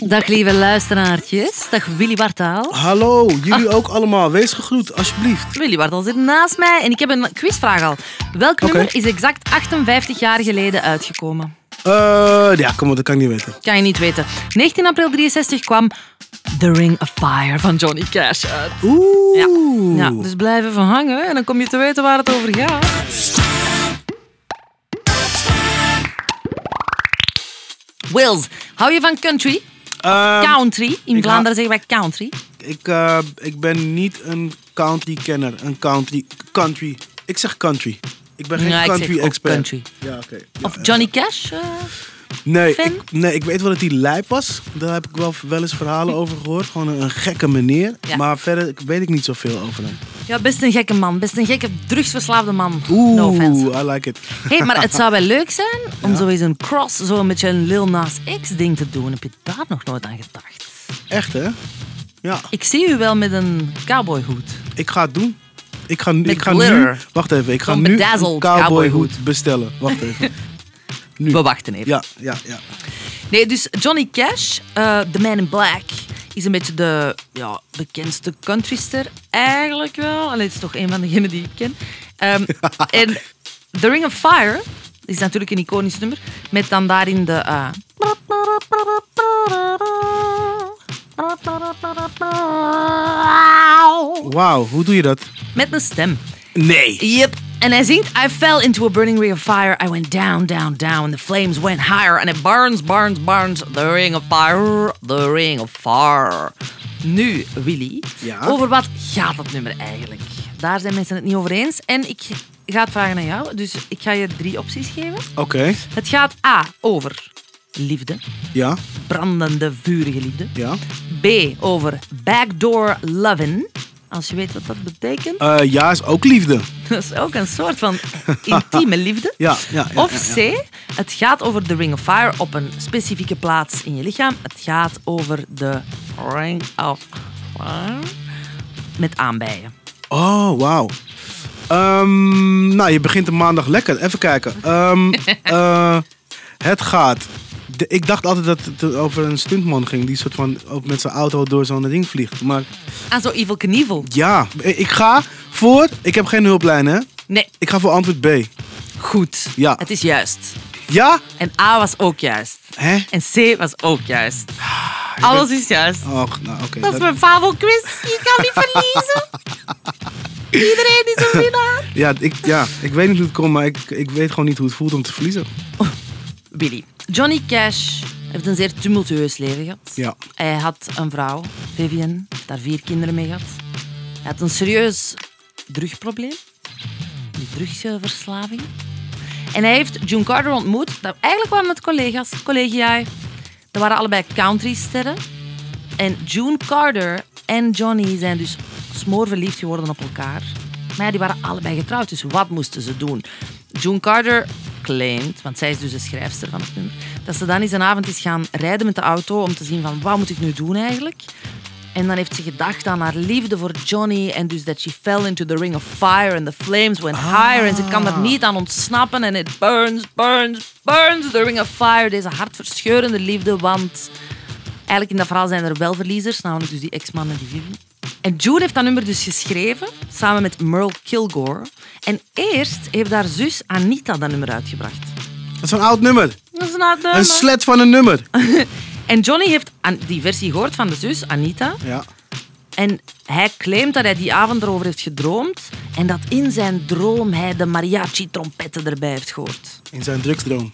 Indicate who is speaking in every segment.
Speaker 1: Dag lieve luisteraartjes. Dag Willy Wartaal.
Speaker 2: Hallo, jullie ook allemaal. Wees gegroet, alsjeblieft.
Speaker 1: Willy Wartaal zit naast mij en ik heb een quizvraag al. Welk
Speaker 2: Oké.
Speaker 1: nummer is exact 58 jaar geleden uitgekomen?
Speaker 2: Eh, ja, kom op, dat kan ik niet weten.
Speaker 1: Kan je niet weten. 19 april 63 kwam The Ring of Fire van Johnny Cash uit.
Speaker 2: Oeh.
Speaker 1: Ja. Ja, dus blijf even hangen en dan kom je te weten waar het over gaat. Wills, hou je van country?
Speaker 2: Ehm,
Speaker 1: Country. In
Speaker 2: ik hou-
Speaker 1: Vlaanderen zeggen wij country.
Speaker 2: ik, eh, ik ben niet een country kenner. Een country. Country. Ik zeg country. Ik ben geen
Speaker 1: Ja, ik zeg
Speaker 2: country
Speaker 1: ook
Speaker 2: expert.
Speaker 1: country.
Speaker 2: Ja, oké. Ja,
Speaker 1: Of
Speaker 2: ja.
Speaker 1: Johnny Cash? eh?
Speaker 2: Nee
Speaker 1: fan?
Speaker 2: ik, nee, ik weet wel dat hij lijp was. Daar heb ik wel, wel eens verhalen over gehoord. Gewoon een, een gekke meneer.
Speaker 1: Ja.
Speaker 2: Maar verder weet ik niet zoveel over hem.
Speaker 1: Ja, best een gekke man. Best een gekke drugsverslaafde man.
Speaker 2: Oeh,
Speaker 1: No offense.
Speaker 2: I like it.
Speaker 1: Hey, maar het zou wel leuk zijn om zo eens een cross, zo een beetje een Lil Nas X ding te doen. Heb je daar nog nooit aan gedacht?
Speaker 2: Echt, hè? Ja.
Speaker 1: Ik zie u wel met een cowboyhoed.
Speaker 2: Ik ga het doen. Ik ga, ik ga nu.
Speaker 1: glitter.
Speaker 2: Wacht even. Ik ga
Speaker 1: Zo'n
Speaker 2: nu een
Speaker 1: bedazzled
Speaker 2: cowboyhoed
Speaker 1: cowboyhoed.
Speaker 2: bestellen. Wacht even. Nu.
Speaker 1: We wachten even.
Speaker 2: Ja, ja, ja.
Speaker 1: Nee, dus Johnny Cash, eh The Man in Black, is een beetje de ja, bekendste countryster eigenlijk wel. Alleen het is toch een van degenen die ik ken. Ehm, en The Ring of Fire is natuurlijk een iconisch nummer, met dan daarin de... eh,
Speaker 2: Wauw, hoe doe je dat?
Speaker 1: met een stem.
Speaker 2: Nee.
Speaker 1: Yep. En hij zingt I fell into a burning ring of fire. I went down, down, down. And the flames went higher. And it burns, burns, burns. The ring of fire. The ring of fire. Nu, Willy.
Speaker 2: Ja?
Speaker 1: Over wat gaat dat nummer eigenlijk? Daar zijn mensen het niet over eens. En ik ga het vragen aan jou. Dus ik ga je drie opties geven.
Speaker 2: Oké.
Speaker 1: Het gaat A. Over liefde.
Speaker 2: Ja,
Speaker 1: Brandende, vurige liefde.
Speaker 2: ja.
Speaker 1: B. Over backdoor lovin'. Als je weet wat dat betekent.
Speaker 2: Eh, ja is ook liefde.
Speaker 1: Dat is ook een soort van intieme liefde.
Speaker 2: Ja, ja, ja,
Speaker 1: of C, het gaat over de Ring of Fire op een specifieke plaats in je lichaam. Het gaat over de Ring of Fire met aanbijen.
Speaker 2: Oh, wauw. Ehm, nou, je begint de maandag lekker. Even kijken. Ehm, eh, het gaat. De- ik dacht altijd dat het over een stuntman ging. Die soort van ook met zijn auto door zo'n ding vliegt. Maar
Speaker 1: En Ah, zo Evil Knievel.
Speaker 2: ja, ik ga voor. Ik heb geen hulplijn, hè?
Speaker 1: Nee,
Speaker 2: Ik ga voor antwoord B.
Speaker 1: goed.
Speaker 2: Ja.
Speaker 1: Het is juist.
Speaker 2: Ja?
Speaker 1: En A was ook juist.
Speaker 2: Hè? Ah,
Speaker 1: En C was ook juist. Alles is juist.
Speaker 2: Och, nou oké.
Speaker 1: Dat is
Speaker 2: Dat-
Speaker 1: mijn fabelquiz. Je kan niet verliezen. Iedereen is een winnaar.
Speaker 2: Ja, ik, ja, ik weet niet hoe het komt, maar ik, ik weet gewoon niet hoe het voelt om te verliezen.
Speaker 1: Billy. Johnny Cash heeft een zeer tumultueus leven gehad.
Speaker 2: Ja.
Speaker 1: Hij had een vrouw, Vivian, daar vier kinderen mee gehad. Hij had een serieus drugprobleem, een drugsverslaving. En hij heeft June Carter ontmoet. Dat, eigenlijk waren het collega's, collegiae. Dat waren allebei countrysterren. En June Carter en Johnny zijn dus smoorverliefd geworden op elkaar. Maar ja, die waren allebei getrouwd, dus wat moesten ze doen? June Carter claimt, want zij is dus de schrijfster van het nummer, dat ze dan eens een avond is gaan rijden met de auto om te zien van wat moet ik nu doen eigenlijk? En dan heeft ze gedacht aan haar liefde voor Johnny en dus dat she fell into the ring of fire and the flames went higher en ze kan er niet aan ontsnappen en it burns, burns, burns the ring of fire. Deze hartverscheurende liefde, want Eigenlijk in dat verhaal zijn er wel verliezers, namelijk dus die ex-man en die Vivian. En June heeft dat nummer dus geschreven, samen met Merle Kilgore. En eerst heeft haar zus Anita dat nummer uitgebracht.
Speaker 2: Dat is een oud nummer.
Speaker 1: Dat is een oud
Speaker 2: Een
Speaker 1: nummer.
Speaker 2: slet van een nummer.
Speaker 1: En Johnny heeft aan- die versie gehoord van de zus, Anita.
Speaker 2: Ja.
Speaker 1: En hij claimt dat hij die avond erover heeft gedroomd. En dat in zijn droom hij de mariachi-trompetten erbij heeft gehoord.
Speaker 2: In zijn drugsdroom.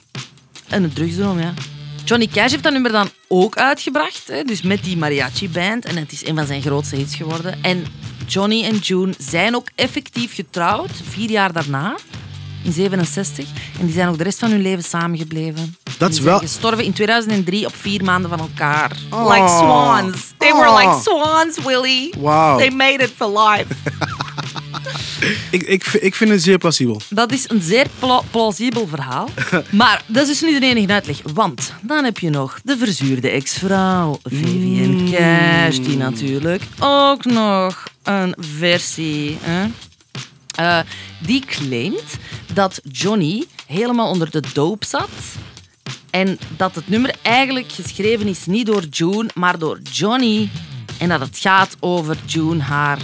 Speaker 1: En een drugsdroom, ja. Johnny Cash heeft dat nummer dan ook uitgebracht, hè, dus met die mariachi-band. En het is een van zijn grootste hits geworden. En Johnny en June zijn ook effectief getrouwd, vier jaar daarna, in 67. En die zijn ook de rest van hun leven samengebleven.
Speaker 2: Dat
Speaker 1: En
Speaker 2: is
Speaker 1: die zijn
Speaker 2: wel-
Speaker 1: Gestorven in 2003 op vier maanden van elkaar.
Speaker 2: Oh.
Speaker 1: Like swans. They were
Speaker 2: Oh.
Speaker 1: like swans, Willy.
Speaker 2: Wauw.
Speaker 1: They made it for life.
Speaker 2: Ik, ik, vi- ik vind het zeer plausibel.
Speaker 1: Dat is een zeer pla- plausibel verhaal. Maar dat is dus niet de enige uitleg. Want dan heb je nog de verzuurde ex-vrouw, Vivian Cash, die natuurlijk ook nog een versie. Hè? Eh, die claimt dat Johnny helemaal onder de doop zat. En dat het nummer eigenlijk geschreven is niet door June, maar door Johnny. En dat het gaat over June, haar,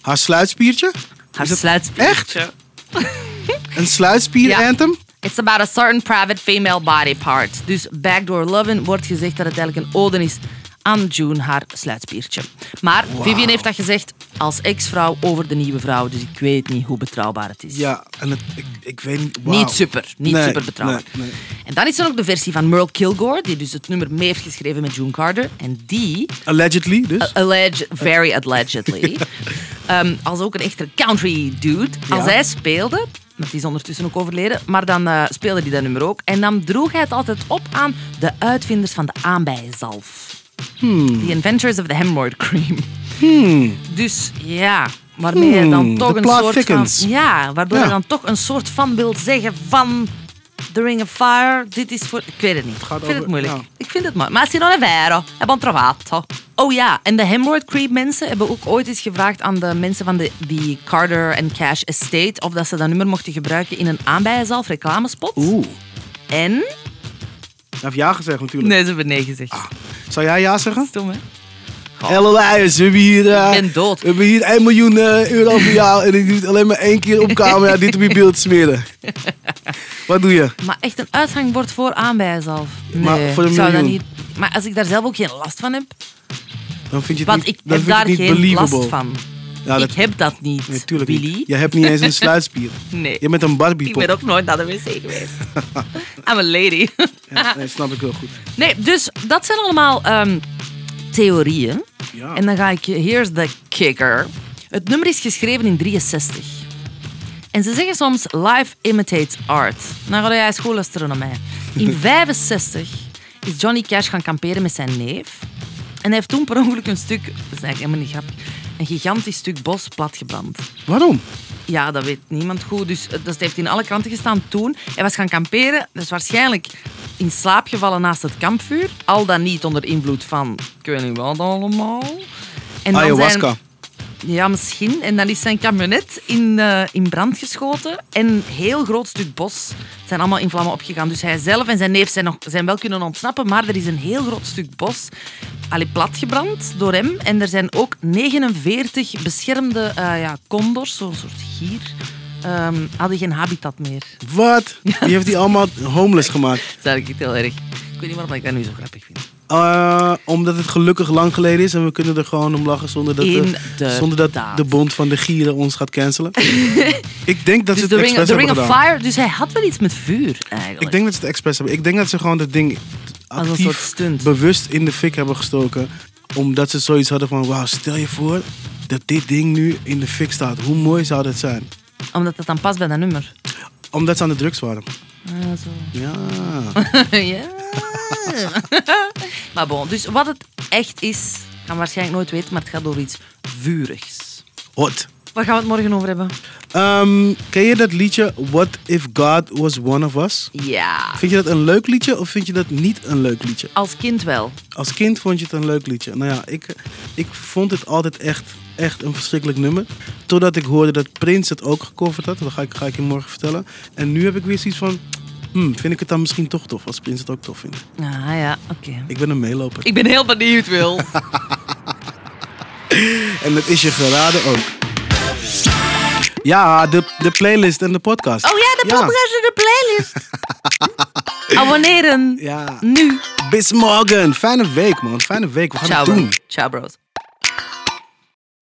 Speaker 2: Haar sluitspiertje?
Speaker 1: haar
Speaker 2: Is dat
Speaker 1: sluitspiertje.
Speaker 2: Een sluitspier
Speaker 1: Ja.
Speaker 2: anthem?
Speaker 1: It's about a certain private female body part. Dus Backdoor Lovin' wordt gezegd dat het eigenlijk een ode is aan June, haar sluitspiertje. Maar Vivian heeft dat gezegd als ex-vrouw over de nieuwe vrouw. Dus ik weet niet hoe betrouwbaar het is.
Speaker 2: Ja, en het, ik, ik weet niet. wauw.
Speaker 1: Niet super, niet
Speaker 2: Nee,
Speaker 1: super betrouwbaar.
Speaker 2: nee, nee.
Speaker 1: En dan is er ook de versie van Merle Kilgore, die dus het nummer mee heeft geschreven met June Carter. En die
Speaker 2: Allegedly, dus.
Speaker 1: Alleged, very allegedly. Ehm, als ook een echte country dude. Als
Speaker 2: Ja.
Speaker 1: hij speelde, want die is ondertussen ook overleden, maar dan eh, speelde hij dat nummer ook. En dan droeg hij het altijd op aan de uitvinders van de aanbijzalf.
Speaker 2: Hmm.
Speaker 1: The inventors of the hemorrhoid cream. Dus ja, waarmee hij dan
Speaker 2: Hmm,
Speaker 1: toch
Speaker 2: de
Speaker 1: een
Speaker 2: plaat
Speaker 1: soort
Speaker 2: thickens.
Speaker 1: van... Ja, waardoor
Speaker 2: Ja.
Speaker 1: hij dan toch een soort van wil zeggen van... The Ring of Fire, dit is voor... Ik weet het niet. Ik vind
Speaker 2: over-
Speaker 1: het moeilijk.
Speaker 2: ja.
Speaker 1: Ik vind het mooi. Ma se non è vero, abbiamo trovato. Oh ja, en de hemorrhoid creep mensen hebben ook ooit eens gevraagd aan de mensen van de, die Carter and Cash Estate of dat ze dat nummer mochten gebruiken in een aanbijzelf reclamespot.
Speaker 2: Oeh.
Speaker 1: En?
Speaker 2: Hij heeft ja gezegd natuurlijk.
Speaker 1: Nee, ze hebben nee gezegd.
Speaker 2: Zou jij ja zeggen?
Speaker 1: Stom, hè?
Speaker 2: LLI, we hebben hier, eh,
Speaker 1: Ik ben dood.
Speaker 2: We hebben hier 1 miljoen eh, euro voor jou en ik doe het alleen maar één keer op camera dit op je beeld smeren. Wat doe je?
Speaker 1: Maar echt een uithangbord voor aanbijzelf. Nee,
Speaker 2: Maar voor een
Speaker 1: ik zou dat
Speaker 2: miljoen.
Speaker 1: niet... Maar als ik daar zelf ook geen last van heb,
Speaker 2: Dan vind je het
Speaker 1: want
Speaker 2: niet,
Speaker 1: ik heb
Speaker 2: dan vind je
Speaker 1: daar
Speaker 2: het niet
Speaker 1: geen
Speaker 2: believable.
Speaker 1: last van.
Speaker 2: Ja, dat
Speaker 1: ik heb dat niet,
Speaker 2: natuurlijk
Speaker 1: Billy.
Speaker 2: niet. Je hebt niet eens een sluitspier.
Speaker 1: Nee.
Speaker 2: Je bent een Barbie
Speaker 1: Ik ben
Speaker 2: pop.
Speaker 1: ook nooit naar de wc geweest. I'm a lady.
Speaker 2: Ja, nee, snap ik heel goed.
Speaker 1: Nee, dus dat zijn allemaal ehm, theorieën.
Speaker 2: Ja.
Speaker 1: En dan ga ik je... Here's the kicker. Het nummer is geschreven in 63. En ze zeggen soms, life imitates art. Dan ga jij school luisteren naar mij. In 65 is Johnny Cash gaan kamperen met zijn neef. En hij heeft toen per ongeluk een stuk... Dat is eigenlijk helemaal niet grappig. Een gigantisch stuk bos platgebrand.
Speaker 2: Waarom?
Speaker 1: Ja, dat weet niemand goed. Dus eh, dat heeft in alle kranten gestaan toen. Hij was gaan kamperen. Dus waarschijnlijk in slaap gevallen naast het kampvuur. Al dan niet onder invloed van... Ik weet niet wat allemaal. En dan
Speaker 2: Ah, Ayahuasca.
Speaker 1: Zijn, ja, misschien. En dan is zijn camionet in, eh, in brand geschoten. En een heel groot stuk bos zijn allemaal in vlammen opgegaan. Dus hij zelf en zijn neef zijn, nog, zijn wel kunnen ontsnappen. Maar er is een heel groot stuk bos allee, platgebrand door hem. En er zijn ook 49 beschermde eh ja, condors, zo'n soort gier, ehm, hadden geen habitat meer.
Speaker 2: Wat? Die heeft die allemaal homeless gemaakt.
Speaker 1: Dat is eigenlijk heel erg. Ik weet niet waarom ik dat nu zo grappig vind.
Speaker 2: Eh, omdat het gelukkig lang geleden is en we kunnen er gewoon om lachen zonder dat, de,
Speaker 1: Inderdaad.
Speaker 2: zonder dat de bond van de gieren ons gaat cancelen. ik denk dat ze
Speaker 1: Dus
Speaker 2: het
Speaker 1: de ring,
Speaker 2: expres
Speaker 1: de ring
Speaker 2: hebben
Speaker 1: of
Speaker 2: gedaan.
Speaker 1: Fire, dus hij had wel iets met vuur eigenlijk.
Speaker 2: Ik denk dat ze het expres hebben. Ik denk dat ze gewoon dat ding
Speaker 1: Als een soort
Speaker 2: actief,
Speaker 1: stunt.
Speaker 2: bewust in de fik hebben gestoken. Omdat ze zoiets hadden van, wauw, stel je voor dat dit ding nu in de fik staat. Hoe mooi zou dat zijn?
Speaker 1: Omdat dat dan past bij dat nummer.
Speaker 2: Omdat ze aan de drugs waren.
Speaker 1: Ah, zo.
Speaker 2: Ja.
Speaker 1: ja. maar bon, dus wat het echt is, gaan we waarschijnlijk nooit weten, maar het gaat over iets vurigs.
Speaker 2: Hot.
Speaker 1: Waar gaan we het morgen over hebben?
Speaker 2: Ehm, ken je dat liedje What If God Was One of Us?
Speaker 1: Ja.
Speaker 2: Vind je dat een leuk liedje of vind je dat niet een leuk liedje?
Speaker 1: Als kind wel.
Speaker 2: Als kind vond je het een leuk liedje. Nou ja, ik, ik vond het altijd echt, echt een verschrikkelijk nummer. Totdat ik hoorde dat Prins het ook gecoverd had. Dat ga ik, ga ik je morgen vertellen. En nu heb ik weer zoiets van... hmm, vind ik het dan misschien toch tof als Prins het ook tof vindt.
Speaker 1: Ah ja, oké.
Speaker 2: Ik ben een meeloper.
Speaker 1: Ik ben heel benieuwd, Wil.
Speaker 2: En dat is je geraden ook. Ja, de, de playlist en de podcast.
Speaker 1: Oh ja, de podcast en de playlist. Abonneren.
Speaker 2: Ja.
Speaker 1: Nu.
Speaker 2: Bis morgen. Fijne week, man. Fijne week. We gaan
Speaker 1: Ciao.
Speaker 2: het
Speaker 1: bro.
Speaker 2: doen.
Speaker 1: Ciao, bros.